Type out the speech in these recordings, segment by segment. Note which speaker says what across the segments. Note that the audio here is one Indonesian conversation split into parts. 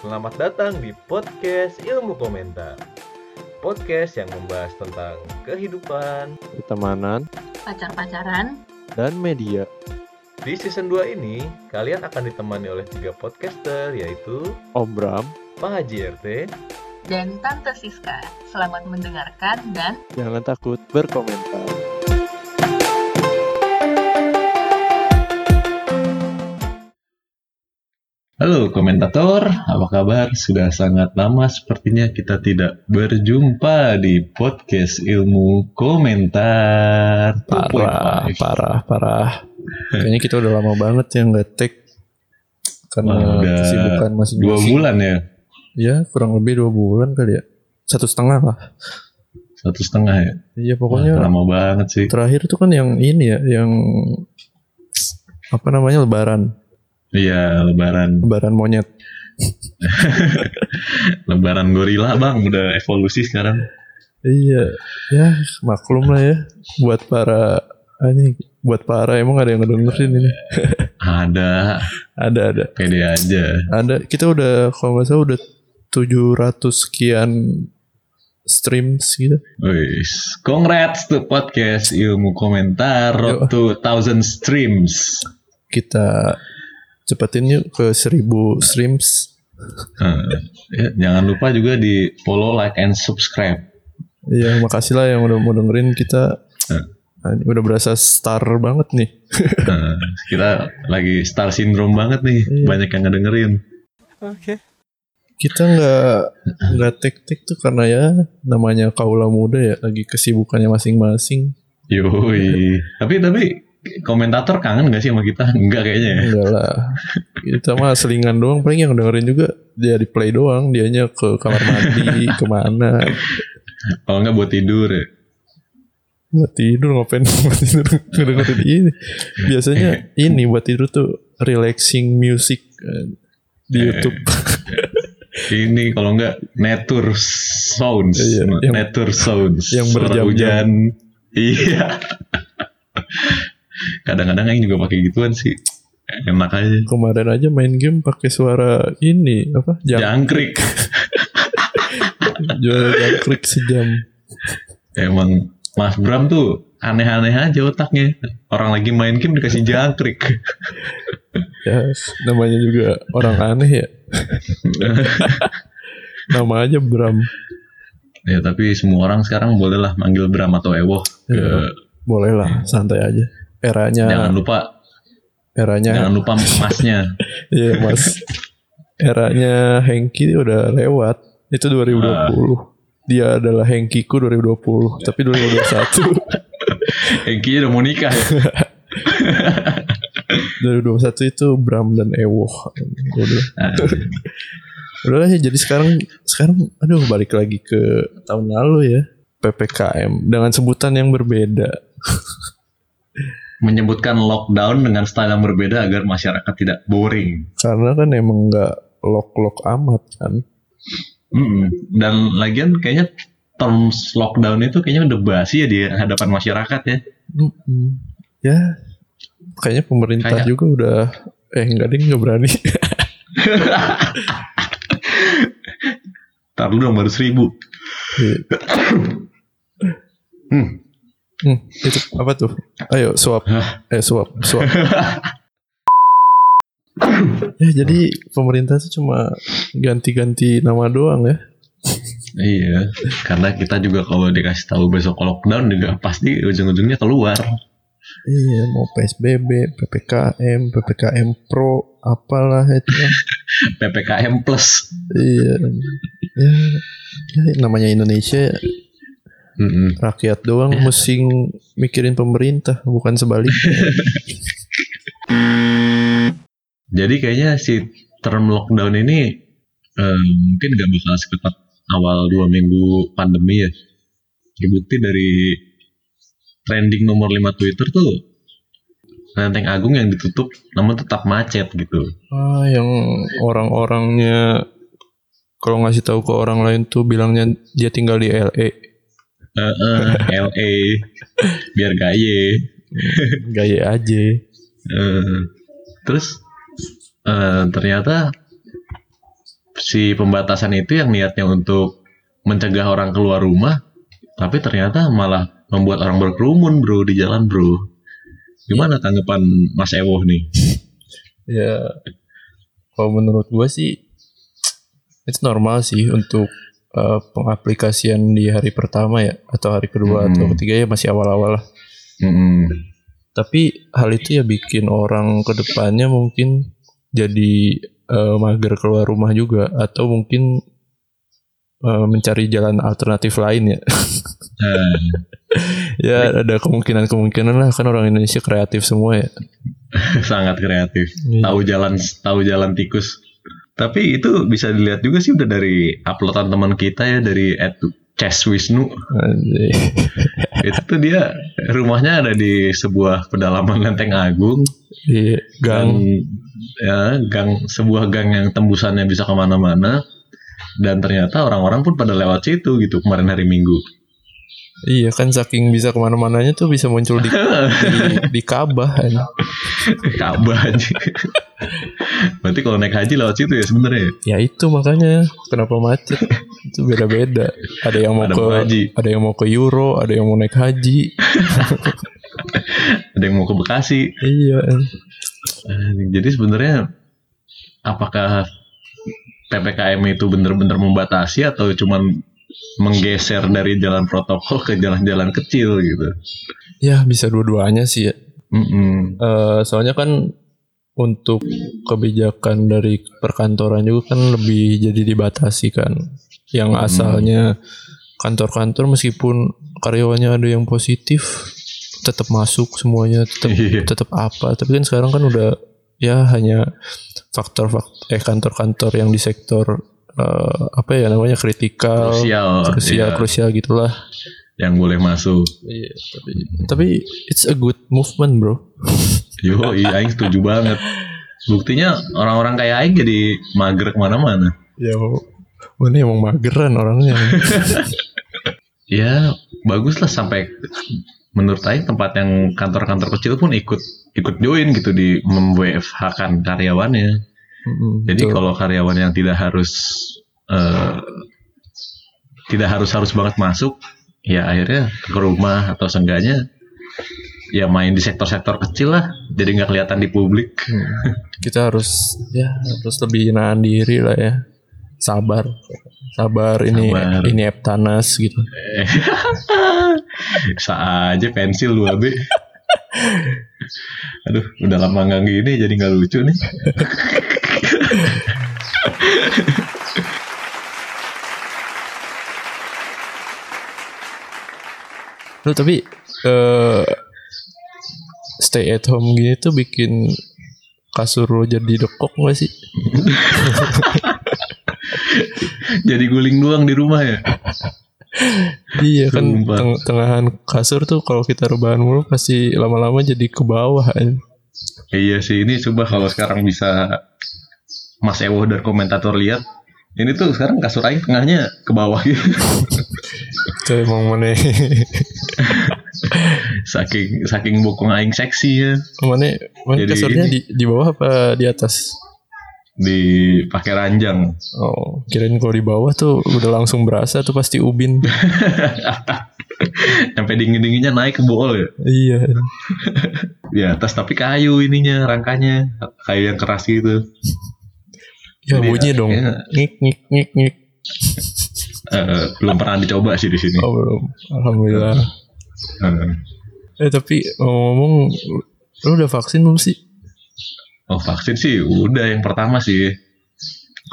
Speaker 1: Selamat datang di podcast Ilmu Komentar. Podcast yang membahas tentang kehidupan.
Speaker 2: pertemanan,
Speaker 3: pacar-pacaran,
Speaker 2: dan media.
Speaker 1: Di season 2 ini, kalian akan ditemani oleh tiga podcaster yaitu
Speaker 2: Om Bram,
Speaker 1: Pak Haji RT,
Speaker 3: dan Tante Siska. Selamat mendengarkan dan
Speaker 2: jangan takut berkomentar.
Speaker 4: Halo komentator, apa kabar? Sudah sangat lama sepertinya kita tidak berjumpa di podcast ilmu komentar.
Speaker 5: parah
Speaker 4: 2.5.
Speaker 5: parah parah kayaknya kita udah lama banget ya nggak take
Speaker 4: Wah,
Speaker 5: karena
Speaker 4: udah
Speaker 5: kesibukan masih
Speaker 4: Dua bulan ya,
Speaker 5: ya kurang lebih dua bulan kali ya satu setengah lah
Speaker 4: satu setengah ya.
Speaker 5: iya
Speaker 4: Wah,
Speaker 5: pokoknya
Speaker 4: lama banget sih.
Speaker 5: terakhir itu kan yang ini ya yang apa namanya lebaran
Speaker 4: Iya, lebaran,
Speaker 5: lebaran monyet
Speaker 4: lebaran gorila bang, udah evolusi sekarang.
Speaker 5: iya ya maklum lah ya buat para anjing buat para emang ada yang ngedengerin ini
Speaker 4: Ada,
Speaker 5: ada ada
Speaker 4: pede aja.
Speaker 5: ada kita udah kalau nggak salah udah 700 sekian streams gitu
Speaker 4: Wis, congrats to podcast ilmu komentar
Speaker 5: Yo.
Speaker 4: road to thousand streams.
Speaker 5: kita cepetin yuk ke 1000 streams.
Speaker 4: Eh, ya, jangan lupa juga di follow, like, and subscribe.
Speaker 5: Ya makasih lah yang udah mau dengerin kita.
Speaker 4: Eh.
Speaker 5: Nah, ini Udah berasa star banget nih.
Speaker 4: Nah, kita lagi star syndrome banget nih,
Speaker 5: Iya.
Speaker 4: banyak yang ngedengerin.
Speaker 5: Kita nggak nggak tek-tek tuh karena ya namanya kaula muda ya lagi kesibukannya masing-masing.
Speaker 4: Yoi. tapi tapi komentator kangen gak sih sama kita? Enggak kayaknya. ya.
Speaker 5: Enggak lah. Kita mah selingan doang. Paling yang dengerin juga dia di play doang. Dianya ke kamar mandi kemana.
Speaker 4: Kalau enggak buat tidur. ya.
Speaker 5: Buat tidur ngapain buat tidur ngedengerin ini. Biasanya ini buat tidur tuh relaxing music eh, di
Speaker 4: Eh.
Speaker 5: YouTube.
Speaker 4: Ini kalau enggak nature sounds,
Speaker 5: Iya, yang-
Speaker 4: nature sounds.
Speaker 5: yang
Speaker 4: Suara
Speaker 5: berjam-jam.
Speaker 4: hujan. Iya. Kadang-kadang yang juga pakai gituan sih. Enak aja.
Speaker 5: kemarin aja main game pakai suara ini apa jam
Speaker 4: Jangkrik.
Speaker 5: jual jangkrik sejam
Speaker 4: Emang Mas Bram tuh aneh-aneh aja otaknya. Orang lagi main game dikasih jangkrik.
Speaker 5: ya namanya juga orang aneh ya nama aja Bram
Speaker 4: Ya tapi semua orang sekarang bolehlah manggil Bram atau Ewo ke
Speaker 5: Ya, boleh lah santai aja eranya
Speaker 4: jangan lupa
Speaker 5: eranya
Speaker 4: jangan lupa masnya.
Speaker 5: iya mas eranya Hengki udah lewat itu 2020
Speaker 4: Ah.
Speaker 5: dia adalah Hengkiku 2020 tapi 2021
Speaker 4: Eki udah mau nikah. ya?
Speaker 5: 2021 itu Bram dan Ewo Udah.
Speaker 4: Nah,
Speaker 5: Udah lah ya, jadi sekarang sekarang aduh balik lagi ke tahun lalu ya ppkm dengan sebutan yang berbeda
Speaker 4: menyebutkan lockdown dengan style yang berbeda agar masyarakat tidak boring.
Speaker 5: karena kan emang nggak lock lock amat kan
Speaker 4: Mm-mm. Dan lagian kayaknya terms lockdown itu kayaknya udah basi ya di hadapan masyarakat ya.
Speaker 5: Mm-mm. ya kayaknya pemerintah
Speaker 4: Kayak-
Speaker 5: juga udah eh nggak deh nggak berani
Speaker 4: Ntar dulu dong baru seribu. Hmm.
Speaker 5: Hmm, itu apa tuh ayo suap eh suap suap ya jadi pemerintah tuh cuma ganti-ganti nama doang ya
Speaker 4: Iya, karena kita juga kalau dikasih tahu besok lockdown juga pasti ujung-ujungnya keluar.
Speaker 5: Iya mau PSBB, PPKM, PPKM Pro, apalah itu.
Speaker 4: PPKM plus.
Speaker 5: iya. Ya, ya, namanya Indonesia
Speaker 4: Mm-mm.
Speaker 5: rakyat doang musing mikirin pemerintah bukan sebaliknya.
Speaker 4: Jadi kayaknya si term lockdown ini eh, mungkin gak bakal seketat awal dua minggu pandemi ya. Dibukti dari trending nomor 5 Twitter tuh Lenteng Agung yang ditutup namun tetap macet gitu.
Speaker 5: ah, yang orang-orangnya kalau ngasih tahu ke orang lain tuh bilangnya dia tinggal di LA.
Speaker 4: Eh, eh, LA biar gaye.
Speaker 5: Gaya aja.
Speaker 4: Eh, terus eh, ternyata si pembatasan itu yang niatnya untuk mencegah orang keluar rumah, tapi ternyata malah membuat orang berkerumun bro di jalan bro. Gimana tanggapan Mas Ewo nih?
Speaker 5: ya kalau menurut gue sih itu normal sih untuk eh, pengaplikasian di hari pertama ya atau hari kedua
Speaker 4: Hmm.
Speaker 5: atau ketiga ya masih awal-awal lah
Speaker 4: Mm-mm.
Speaker 5: tapi hal itu ya bikin orang kedepannya mungkin jadi eh, mager keluar rumah juga atau mungkin eh, mencari jalan alternatif lain ya
Speaker 4: Eh,
Speaker 5: ya ada kemungkinan-kemungkinan lah kan orang Indonesia kreatif semua ya
Speaker 4: sangat kreatif. tahu jalan tahu jalan tikus tapi itu bisa dilihat juga sih udah dari uploadan teman kita ya dari at Chess Wisnu
Speaker 5: Anjay.
Speaker 4: itu tuh dia rumahnya ada di sebuah pedalaman Lenteng Agung
Speaker 5: Iya, gang
Speaker 4: dan, ya, gang sebuah gang yang tembusannya bisa kemana-mana dan ternyata orang-orang pun pada lewat situ gitu kemarin hari Minggu
Speaker 5: Iya kan saking bisa kemana-mananya tuh bisa muncul di di, di Kabah kan.
Speaker 4: Eh, Ka'bah aja berarti kalau naik haji lewat situ ya sebenarnya ya?
Speaker 5: Ya itu makanya kenapa macet itu beda-beda. Ada yang mau
Speaker 4: Ada
Speaker 5: ke
Speaker 4: mau haji.
Speaker 5: ada yang mau ke Euro, ada yang mau naik haji.
Speaker 4: ada yang mau ke Bekasi
Speaker 5: Iya. kan.
Speaker 4: Eh, Jadi sebenarnya apakah PPKM itu benar-benar membatasi atau cuman menggeser dari jalan protokol ke jalan-jalan kecil gitu?
Speaker 5: Ya bisa dua-duanya sih ya.
Speaker 4: Mm-mm.
Speaker 5: Eh, soalnya kan untuk kebijakan dari perkantoran juga kan lebih jadi dibatasi kan. Yang
Speaker 4: Hmm.
Speaker 5: asalnya kantor-kantor meskipun karyawannya ada yang positif tetap masuk semuanya tetap
Speaker 4: Iya.
Speaker 5: tetap apa tapi kan sekarang kan udah ya hanya faktor faktor eh kantor-kantor yang di sektor eh, apa ya namanya kritikal
Speaker 4: Krusial,
Speaker 5: krusial
Speaker 4: iya,
Speaker 5: krusial gitulah
Speaker 4: yang boleh masuk.
Speaker 5: tapi tapi it's a good movement bro
Speaker 4: Yo, iya, Aing setuju banget. Buktinya orang-orang kayak Aing jadi mager kemana-mana.
Speaker 5: ya mana emang mageran orangnya
Speaker 4: Ya, bagus lah sampai menurut Aing tempat yang kantor-kantor kecil pun ikut ikut join gitu di memWFH-kan kan karyawannya.
Speaker 5: Mm,
Speaker 4: Jadi
Speaker 5: betul.
Speaker 4: kalau karyawan yang tidak harus eh, tidak harus harus banget masuk, ya akhirnya ke rumah atau seenggaknya ya main di sektor-sektor kecil lah, jadi nggak kelihatan di publik.
Speaker 5: Mm. kita harus ya harus lebih nahan diri lah ya sabar sabar ini
Speaker 4: Sabar.
Speaker 5: ini Eptanas gitu
Speaker 4: Bisa aja pensil 2B. Aduh, udah lama nggak gini jadi nggak lucu nih.
Speaker 5: Lu tapi eh stay at home gini tuh bikin kasur lo jadi dekok gak sih?
Speaker 4: Jadi guling doang di rumah ya.
Speaker 5: Iya kan
Speaker 4: Sumpah.
Speaker 5: teng- tengahan kasur tuh kalau kita rebahan mulu pasti lama-lama jadi ke bawah kan.
Speaker 4: Iya sih, ini coba kalau sekarang bisa Mas Ewo dan komentator lihat, ini tuh sekarang kasur Aing tengahnya ke bawah gitu.
Speaker 5: Itu emang mana
Speaker 4: saking saking bokong aing seksi ya
Speaker 5: mana mana
Speaker 4: Jadi
Speaker 5: kasurnya
Speaker 4: ini.
Speaker 5: di, di bawah apa di atas?
Speaker 4: dipakai ranjang
Speaker 5: Oh, kirain kalau di bawah tuh udah langsung berasa tuh pasti ubin.
Speaker 4: sampai dingin dinginnya naik ke bool ya
Speaker 5: iya.
Speaker 4: di atas tapi kayu ininya rangkanya kayu yang keras gitu
Speaker 5: Ya
Speaker 4: Jadi,
Speaker 5: bunyi dong.
Speaker 4: kayaknya,
Speaker 5: Ngik ngik ngik ngik.
Speaker 4: eh, belum pernah dicoba sih di sini
Speaker 5: Oh, belum. Alhamdulillah.
Speaker 4: Eh,
Speaker 5: Eh tapi ngomong lu udah vaksin belum sih?
Speaker 4: oh vaksin sih udah yang pertama sih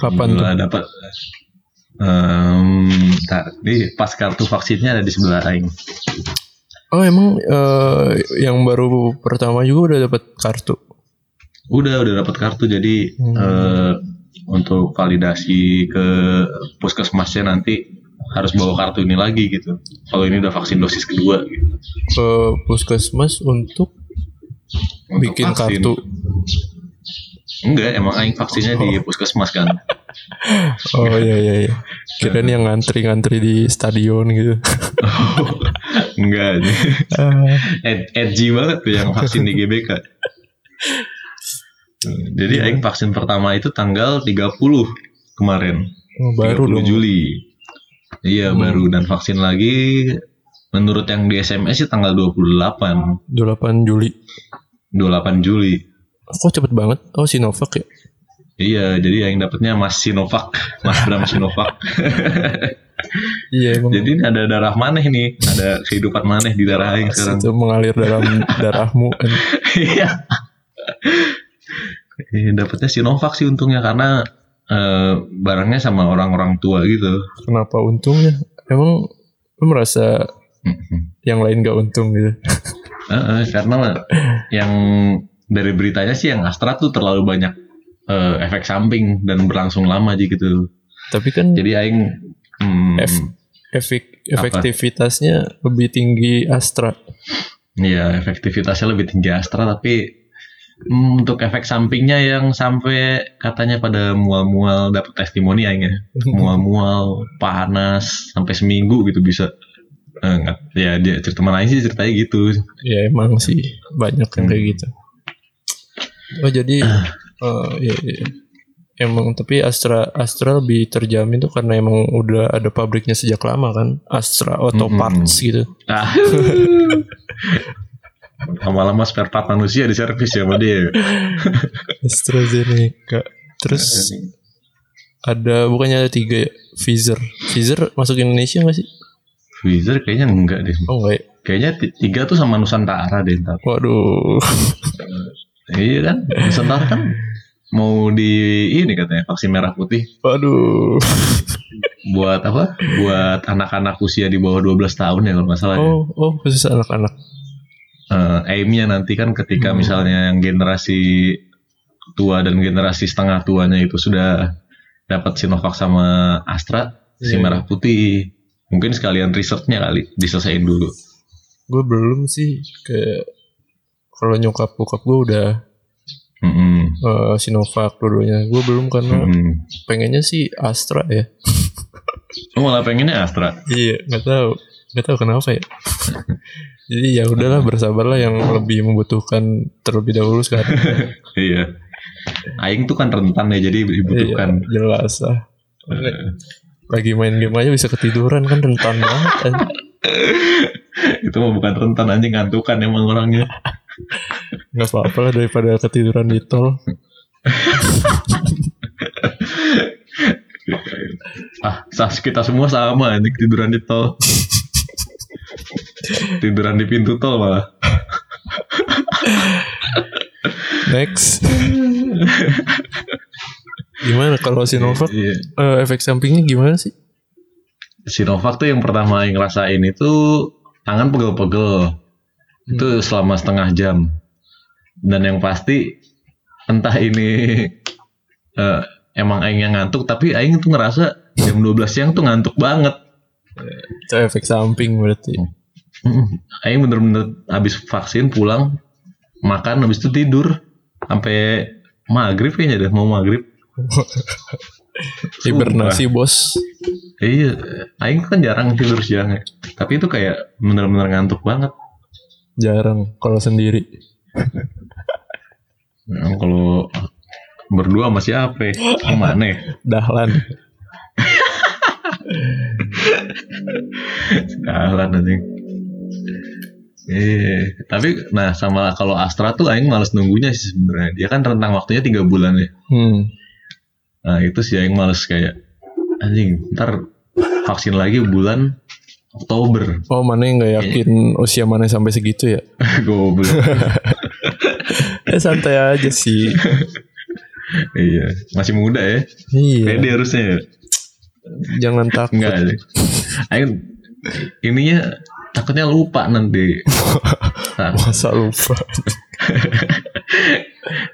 Speaker 5: Kapan tuh?
Speaker 4: Gila, dapat Em, tak, ini pas kartu vaksinnya ada di sebelah aing
Speaker 5: Oh emang eh, yang baru pertama juga udah dapat kartu.
Speaker 4: udah udah dapat kartu jadi
Speaker 5: Hmm.
Speaker 4: eh, untuk validasi ke puskesmasnya nanti harus bawa kartu ini lagi gitu kalau ini udah vaksin dosis kedua gitu.
Speaker 5: Ke puskesmas untuk
Speaker 4: Untuk
Speaker 5: bikin
Speaker 4: vaksin.
Speaker 5: kartu.
Speaker 4: enggak emang aing vaksinnya di puskesmas kan
Speaker 5: Oh iya iya iya. Kirain yang ngantri-ngantri di stadion gitu.
Speaker 4: enggak
Speaker 5: Ah,
Speaker 4: Ed- edgy banget tuh yang vaksin di GBK
Speaker 5: Iya.
Speaker 4: jadi aing vaksin pertama itu tanggal 30 kemarin.
Speaker 5: Oh, baru
Speaker 4: 30
Speaker 5: dong.
Speaker 4: Juli. Iya,
Speaker 5: Hmm.
Speaker 4: baru dan vaksin lagi menurut yang di SMS sih tanggal 28,
Speaker 5: 28 Juli.
Speaker 4: 28 Juli.
Speaker 5: Kok cepet banget? Oh Sinovac ya?
Speaker 4: Iya, jadi yang dapatnya Mas Sinovac, Mas Bram Sinovac.
Speaker 5: Iya emang.
Speaker 4: jadi ini ada darah maneh nih, ada kehidupan maneh di darah yang
Speaker 5: Pas
Speaker 4: sekarang.
Speaker 5: itu mengalir dalam darahmu.
Speaker 4: Iya. Eh, Dapatnya Sinovac sih untungnya karena eh, barangnya sama orang-orang tua gitu.
Speaker 5: Kenapa untungnya? Emang lu merasa yang lain gak untung gitu?
Speaker 4: Heeh, karena yang dari beritanya sih yang Astra tuh terlalu banyak eh, efek samping dan berlangsung lama aja gitu.
Speaker 5: Tapi kan
Speaker 4: Jadi aing hmm,
Speaker 5: F. efek
Speaker 4: Apa?
Speaker 5: efektivitasnya lebih tinggi Astra.
Speaker 4: Iya, efektivitasnya lebih tinggi Astra tapi hmm, untuk efek sampingnya yang sampai katanya pada mual-mual dapat testimoni aing ya. Mual-mual, panas sampai seminggu gitu bisa. Eh, nggak- ya dia cerita mana sih ceritanya gitu.
Speaker 5: ya emang sih banyak yang
Speaker 4: Hmm.
Speaker 5: kayak gitu. Oh jadi eh, iya, iya. emang tapi Astra Astra lebih terjamin tuh karena emang udah ada pabriknya sejak lama kan Astra Auto
Speaker 4: Mm-mm.
Speaker 5: Parts gitu.
Speaker 4: Ah. Lama-lama spare part manusia di servis ya sama dia.
Speaker 5: AstraZeneca. Terus ada bukannya ada tiga ya? Pfizer. Pfizer masuk Indonesia nggak sih?
Speaker 4: Pfizer kayaknya enggak deh.
Speaker 5: Oh enggak ya?
Speaker 4: Kayaknya ti- tiga tuh sama Nusantara deh ntar.
Speaker 5: Waduh.
Speaker 4: Iya kan? Nusantara kan mau di ini katanya vaksin merah putih
Speaker 5: Waduh.
Speaker 4: buat apa? Buat anak-anak usia di bawah 12 tahun ya kalau nggak salah. ya.
Speaker 5: Oh, oh khusus anak-anak.
Speaker 4: Eh, aimnya nanti kan ketika
Speaker 5: Hmm.
Speaker 4: misalnya yang generasi tua dan generasi setengah tuanya itu sudah dapat Sinovac sama Astra, si
Speaker 5: Iya.
Speaker 4: merah putih. Mungkin sekalian risetnya kali diselesain dulu.
Speaker 5: Gue belum sih ke kalau nyokap bokap gue udah
Speaker 4: Mm-mm.
Speaker 5: eh, Sinovac dua-duanya. Gue belum karena
Speaker 4: Mm-mm.
Speaker 5: pengennya sih Astra ya.
Speaker 4: Lu malah pengennya Astra.
Speaker 5: Iya, nggak tahu, nggak tahu kenapa ya. Jadi ya udahlah bersabarlah yang lebih membutuhkan terlebih dahulu sekarang.
Speaker 4: Iya. Aing tuh kan rentan ya jadi
Speaker 5: Iya,
Speaker 4: dibutuhkan.
Speaker 5: jelas lah.
Speaker 4: Eh,
Speaker 5: Iya. Lagi main game aja bisa ketiduran kan rentan banget. kan.
Speaker 4: itu mah bukan rentan anjing ngantukan emang orangnya.
Speaker 5: Nggak apa-apa lah daripada ketiduran di tol.
Speaker 4: Ah, sah kita semua sama anjing tiduran di tol. tiduran di pintu tol malah.
Speaker 5: Next. Gimana kalau Sinovac
Speaker 4: Iya.
Speaker 5: eh, efek sampingnya gimana sih?
Speaker 4: Sinovac tuh yang pertama yang ngerasain itu tangan pegel-pegel. Itu selama setengah jam. Dan yang pasti entah ini eh, emang aing yang ngantuk tapi aing tuh ngerasa jam 12 siang tuh ngantuk banget.
Speaker 5: Itu efek samping berarti.
Speaker 4: Mm. Aing bener-bener abis vaksin pulang makan habis itu tidur sampai maghrib kayaknya deh mau maghrib.
Speaker 5: Hibernasi bos.
Speaker 4: Iya, Aing kan jarang tidur siang ya. Tapi itu kayak bener-bener ngantuk banget.
Speaker 5: Jarang kalau sendiri.
Speaker 4: Nah, kalau berdua masih apa? Mana? ya?
Speaker 5: Dahlan.
Speaker 4: Jalan anjing. Eh, tapi nah sama kalau Astra tuh aing males nunggunya sih sebenarnya. Dia kan rentang waktunya tiga bulan ya.
Speaker 5: Hmm.
Speaker 4: Nah, itu sih aing males kayak anjing, ntar vaksin lagi bulan Oktober.
Speaker 5: Oh mana yang nggak yakin usia mana sampai segitu ya?
Speaker 4: Goblok.
Speaker 5: Eh santai aja sih.
Speaker 4: iya, masih muda ya. Pede
Speaker 5: iya.
Speaker 4: harusnya ya.
Speaker 5: Jangan takut.
Speaker 4: Enggak sih. Aing ininya takutnya lupa nanti. Nah,
Speaker 5: Masa lupa.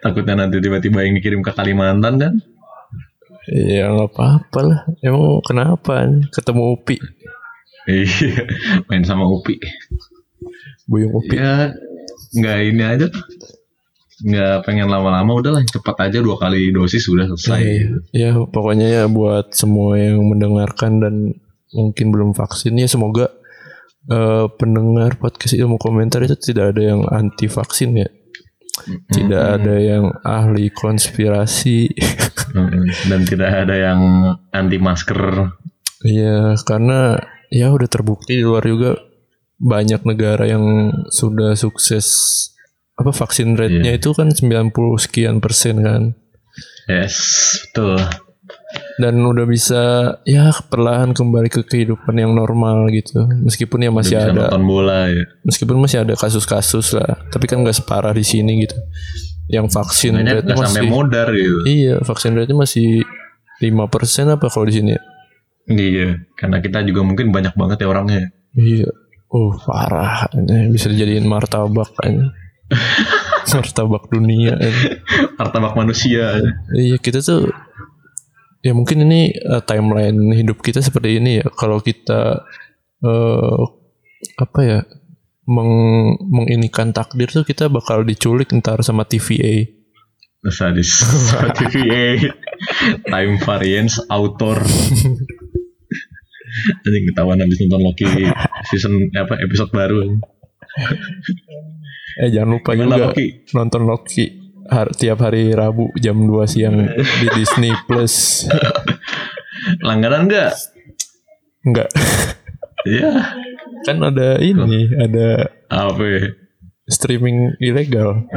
Speaker 4: takutnya nanti tiba-tiba yang dikirim ke Kalimantan kan.
Speaker 5: Iya nggak apa-apa lah. Emang kenapa? Ketemu Upi,
Speaker 4: Iya, main sama Upi.
Speaker 5: Buyung Upi.
Speaker 4: Ya, nggak ini aja. Nggak pengen lama-lama, udahlah cepat aja dua kali dosis udah selesai.
Speaker 5: Iya, ya pokoknya ya buat semua yang mendengarkan dan mungkin belum vaksin ya semoga eh, pendengar podcast ilmu komentar itu tidak ada yang anti vaksin ya. tidak ada yang ahli konspirasi
Speaker 4: Mm-mm. dan tidak ada yang anti masker
Speaker 5: Iya, karena ya udah terbukti di luar juga banyak negara yang sudah sukses apa vaksin rate-nya itu kan 90 sekian persen kan.
Speaker 4: yes betul
Speaker 5: Dan udah bisa ya perlahan kembali ke kehidupan yang normal gitu. Meskipun ya masih
Speaker 4: Udah bisa
Speaker 5: ada
Speaker 4: nonton bola ya
Speaker 5: meskipun masih ada kasus-kasus lah, tapi kan nggak separah di sini gitu. Yang vaksin
Speaker 4: Makanya
Speaker 5: rate-nya
Speaker 4: nggak sampai
Speaker 5: masih
Speaker 4: modar gitu
Speaker 5: Iya, vaksin rate-nya masih 5% apa kalau di sini ya?
Speaker 4: iya karena kita juga mungkin banyak banget ya orangnya
Speaker 5: Iya. Uh, parah. Ini bisa dijadiin martabak ini. martabak dunia. ini.
Speaker 4: martabak manusia
Speaker 5: Iya, kita tuh ya mungkin ini eh, timeline hidup kita seperti ini ya. Kalau kita eh apa ya? Meng, menginikan takdir tuh kita bakal diculik ntar sama TVA.
Speaker 4: sadis TVA time variance author anjing ketahuan habis nonton Loki season apa episode baru
Speaker 5: Eh jangan lupa
Speaker 4: gimana
Speaker 5: juga
Speaker 4: Loki
Speaker 5: nonton Loki har- tiap hari Rabu jam 2 siang di Disney Plus.
Speaker 4: langganan nggak
Speaker 5: Enggak,
Speaker 4: ya
Speaker 5: kan ada ini, ada
Speaker 4: apa ya?
Speaker 5: streaming ilegal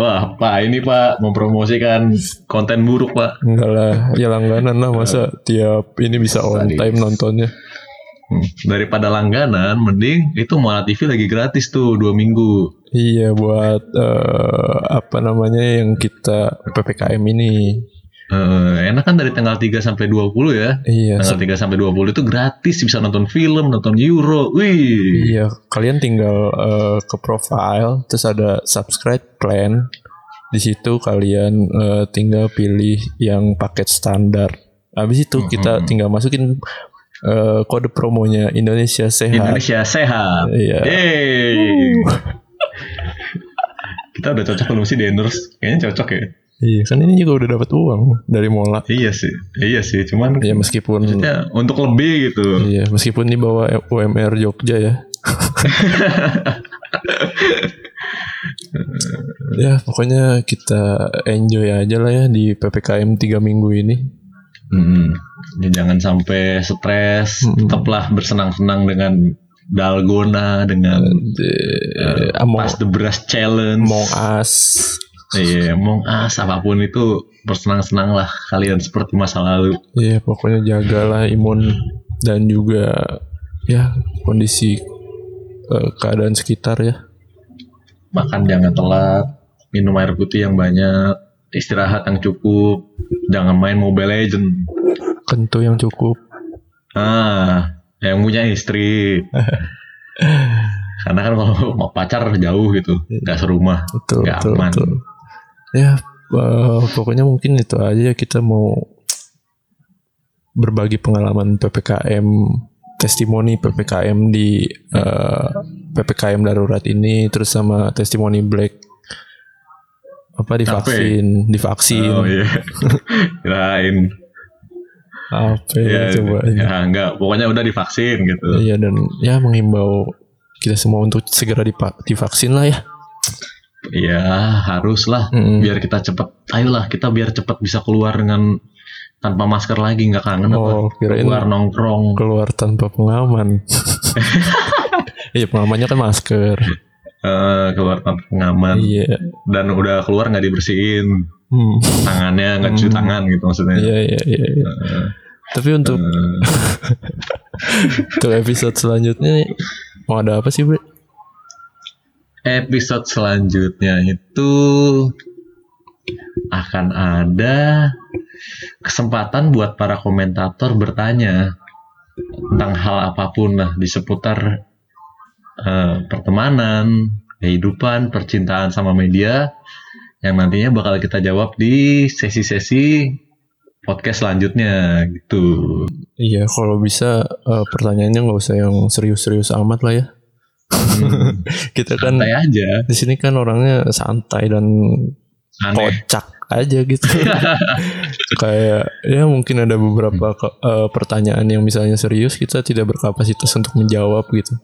Speaker 4: Wah, Pak, ini Pak mempromosikan konten buruk, Pak.
Speaker 5: enggak lah ya langganan lah masa tiap ini bisa on
Speaker 4: Sadis.
Speaker 5: time nontonnya
Speaker 4: Hmm, Daripada langganan, mending itu Mola TV lagi gratis tuh dua minggu.
Speaker 5: iya buat eh, apa namanya yang kita ppkm ini
Speaker 4: Eh, enak kan dari tanggal 3 sampai 20 ya.
Speaker 5: iya
Speaker 4: Tanggal
Speaker 5: se-
Speaker 4: 3 sampai 20 itu gratis bisa nonton film, nonton Euro. Wih.
Speaker 5: iya kalian tinggal eh, ke profile terus ada subscribe plan di situ kalian eh, tinggal pilih yang paket standar habis itu kita
Speaker 4: Mhm.
Speaker 5: tinggal masukin eh, kode promonya Indonesia sehat
Speaker 4: Indonesia sehat.
Speaker 5: iya
Speaker 4: Yeay. Kita udah cocok belum sih di endorse? Kayaknya cocok ya.
Speaker 5: Iya kan ini juga udah dapat uang dari Mola.
Speaker 4: Iya sih. Iya sih, cuman
Speaker 5: Ya meskipun
Speaker 4: maksudnya untuk lebih gitu.
Speaker 5: iya meskipun di bawah UMR Jogja ya. ya pokoknya kita enjoy aja lah ya di PPKM 3 minggu ini.
Speaker 4: Hmm, ya jangan sampai stres,
Speaker 5: Mm-mm.
Speaker 4: tetaplah bersenang-senang dengan dalgona, dengan
Speaker 5: Eh, Among,
Speaker 4: pas the brush challenge,
Speaker 5: Among Us.
Speaker 4: iya, Among Us, apapun itu bersenang-senang lah kalian seperti masa lalu.
Speaker 5: Iya pokoknya jagalah imun dan juga ya kondisi eh, keadaan sekitar ya.
Speaker 4: Makan jangan telat, minum air putih yang banyak, istirahat yang cukup, jangan main Mobile Legend.
Speaker 5: Kentu yang cukup.
Speaker 4: Ah, yang punya istri. Karena kan kalau mau pacar jauh gitu, nggak serumah.
Speaker 5: betul
Speaker 4: Nggak
Speaker 5: betul,
Speaker 4: aman.
Speaker 5: betul. ya eh, pokoknya mungkin itu aja kita mau berbagi pengalaman ppkm testimoni ppkm di eh, ppkm darurat ini terus sama testimoni black apa divaksin divaksin
Speaker 4: Oh iya. Kirain.
Speaker 5: apa ya,
Speaker 4: Ya,
Speaker 5: coba ini.
Speaker 4: ya, enggak, pokoknya udah divaksin gitu.
Speaker 5: iya dan ya menghimbau kita semua untuk segera dipa- divaksin lah ya
Speaker 4: Iya, haruslah
Speaker 5: Mm-mm.
Speaker 4: biar kita cepet. Ayolah, kita biar cepet bisa keluar dengan tanpa masker lagi nggak kangen apa.
Speaker 5: oh kirain
Speaker 4: Keluar nongkrong.
Speaker 5: keluar tanpa pengaman. Iya pengamannya kan masker.
Speaker 4: eh, keluar tanpa pengaman
Speaker 5: Iya.
Speaker 4: dan udah keluar nggak dibersihin
Speaker 5: Hmm.
Speaker 4: tangannya nggak cuci
Speaker 5: Hmm.
Speaker 4: tangan gitu maksudnya.
Speaker 5: Iya iya iya. iya.
Speaker 4: Eh,
Speaker 5: Tapi untuk
Speaker 4: eh,
Speaker 5: untuk episode selanjutnya nih, mau ada apa sih Bre?
Speaker 4: episode selanjutnya itu akan ada kesempatan buat para komentator bertanya tentang hal apapun lah di seputar eh, pertemanan, kehidupan, percintaan sama media yang nantinya bakal kita jawab di sesi-sesi podcast selanjutnya gitu.
Speaker 5: Iya kalau bisa eh, pertanyaannya nggak usah yang serius-serius amat lah ya.
Speaker 4: Hmm,
Speaker 5: Kita kan
Speaker 4: santai aja.
Speaker 5: di sini kan orangnya santai dan
Speaker 4: aneh
Speaker 5: kocak aja gitu kayak ya mungkin ada beberapa ke- eh, pertanyaan yang misalnya serius kita tidak berkapasitas untuk menjawab gitu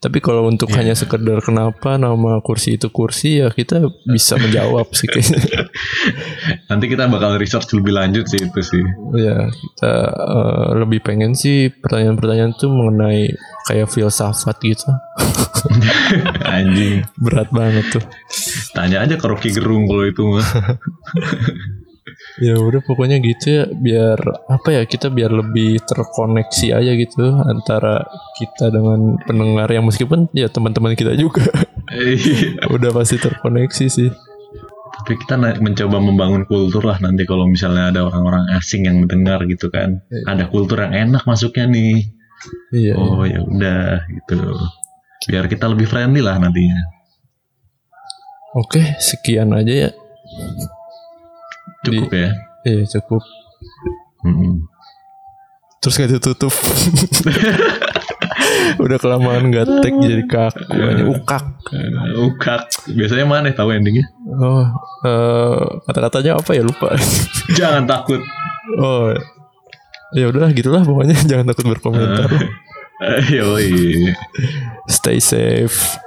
Speaker 5: tapi kalau untuk
Speaker 4: Iya.
Speaker 5: hanya sekedar kenapa nama kursi itu kursi ya kita bisa menjawab sih kayaknya
Speaker 4: nanti kita bakal research lebih lanjut sih itu sih
Speaker 5: ya kita eh, lebih pengen sih pertanyaan-pertanyaan tuh mengenai kayak filsafat gitu
Speaker 4: anjing
Speaker 5: berat banget tuh
Speaker 4: tanya aja ke Rocky Gerung kalau itu mah
Speaker 5: Ya udah pokoknya gitu ya biar apa ya kita biar lebih terkoneksi aja gitu antara kita dengan pendengar yang meskipun ya teman-teman kita juga
Speaker 4: Iya.
Speaker 5: udah pasti terkoneksi sih.
Speaker 4: tapi kita na- mencoba membangun kultur lah nanti kalau misalnya ada orang-orang asing yang mendengar gitu kan
Speaker 5: Iya.
Speaker 4: ada kultur yang enak masuknya nih
Speaker 5: Iya. iya.
Speaker 4: oh ya udah gitu biar kita lebih friendly lah nantinya
Speaker 5: Oke, sekian aja ya.
Speaker 4: cukup ya
Speaker 5: Iya, cukup.
Speaker 4: Mm-mm.
Speaker 5: Terus gak ditutup. udah kelamaan gak tag jadi kaku aja. ukak.
Speaker 4: Eh, ukak biasanya mana tahu endingnya
Speaker 5: Oh, eh, kata-katanya apa ya lupa.
Speaker 4: jangan takut
Speaker 5: oh. Ya udahlah gitulah
Speaker 4: Ah.
Speaker 5: pokoknya jangan takut berkomentar.
Speaker 4: Eh, yoi.
Speaker 5: Stay safe.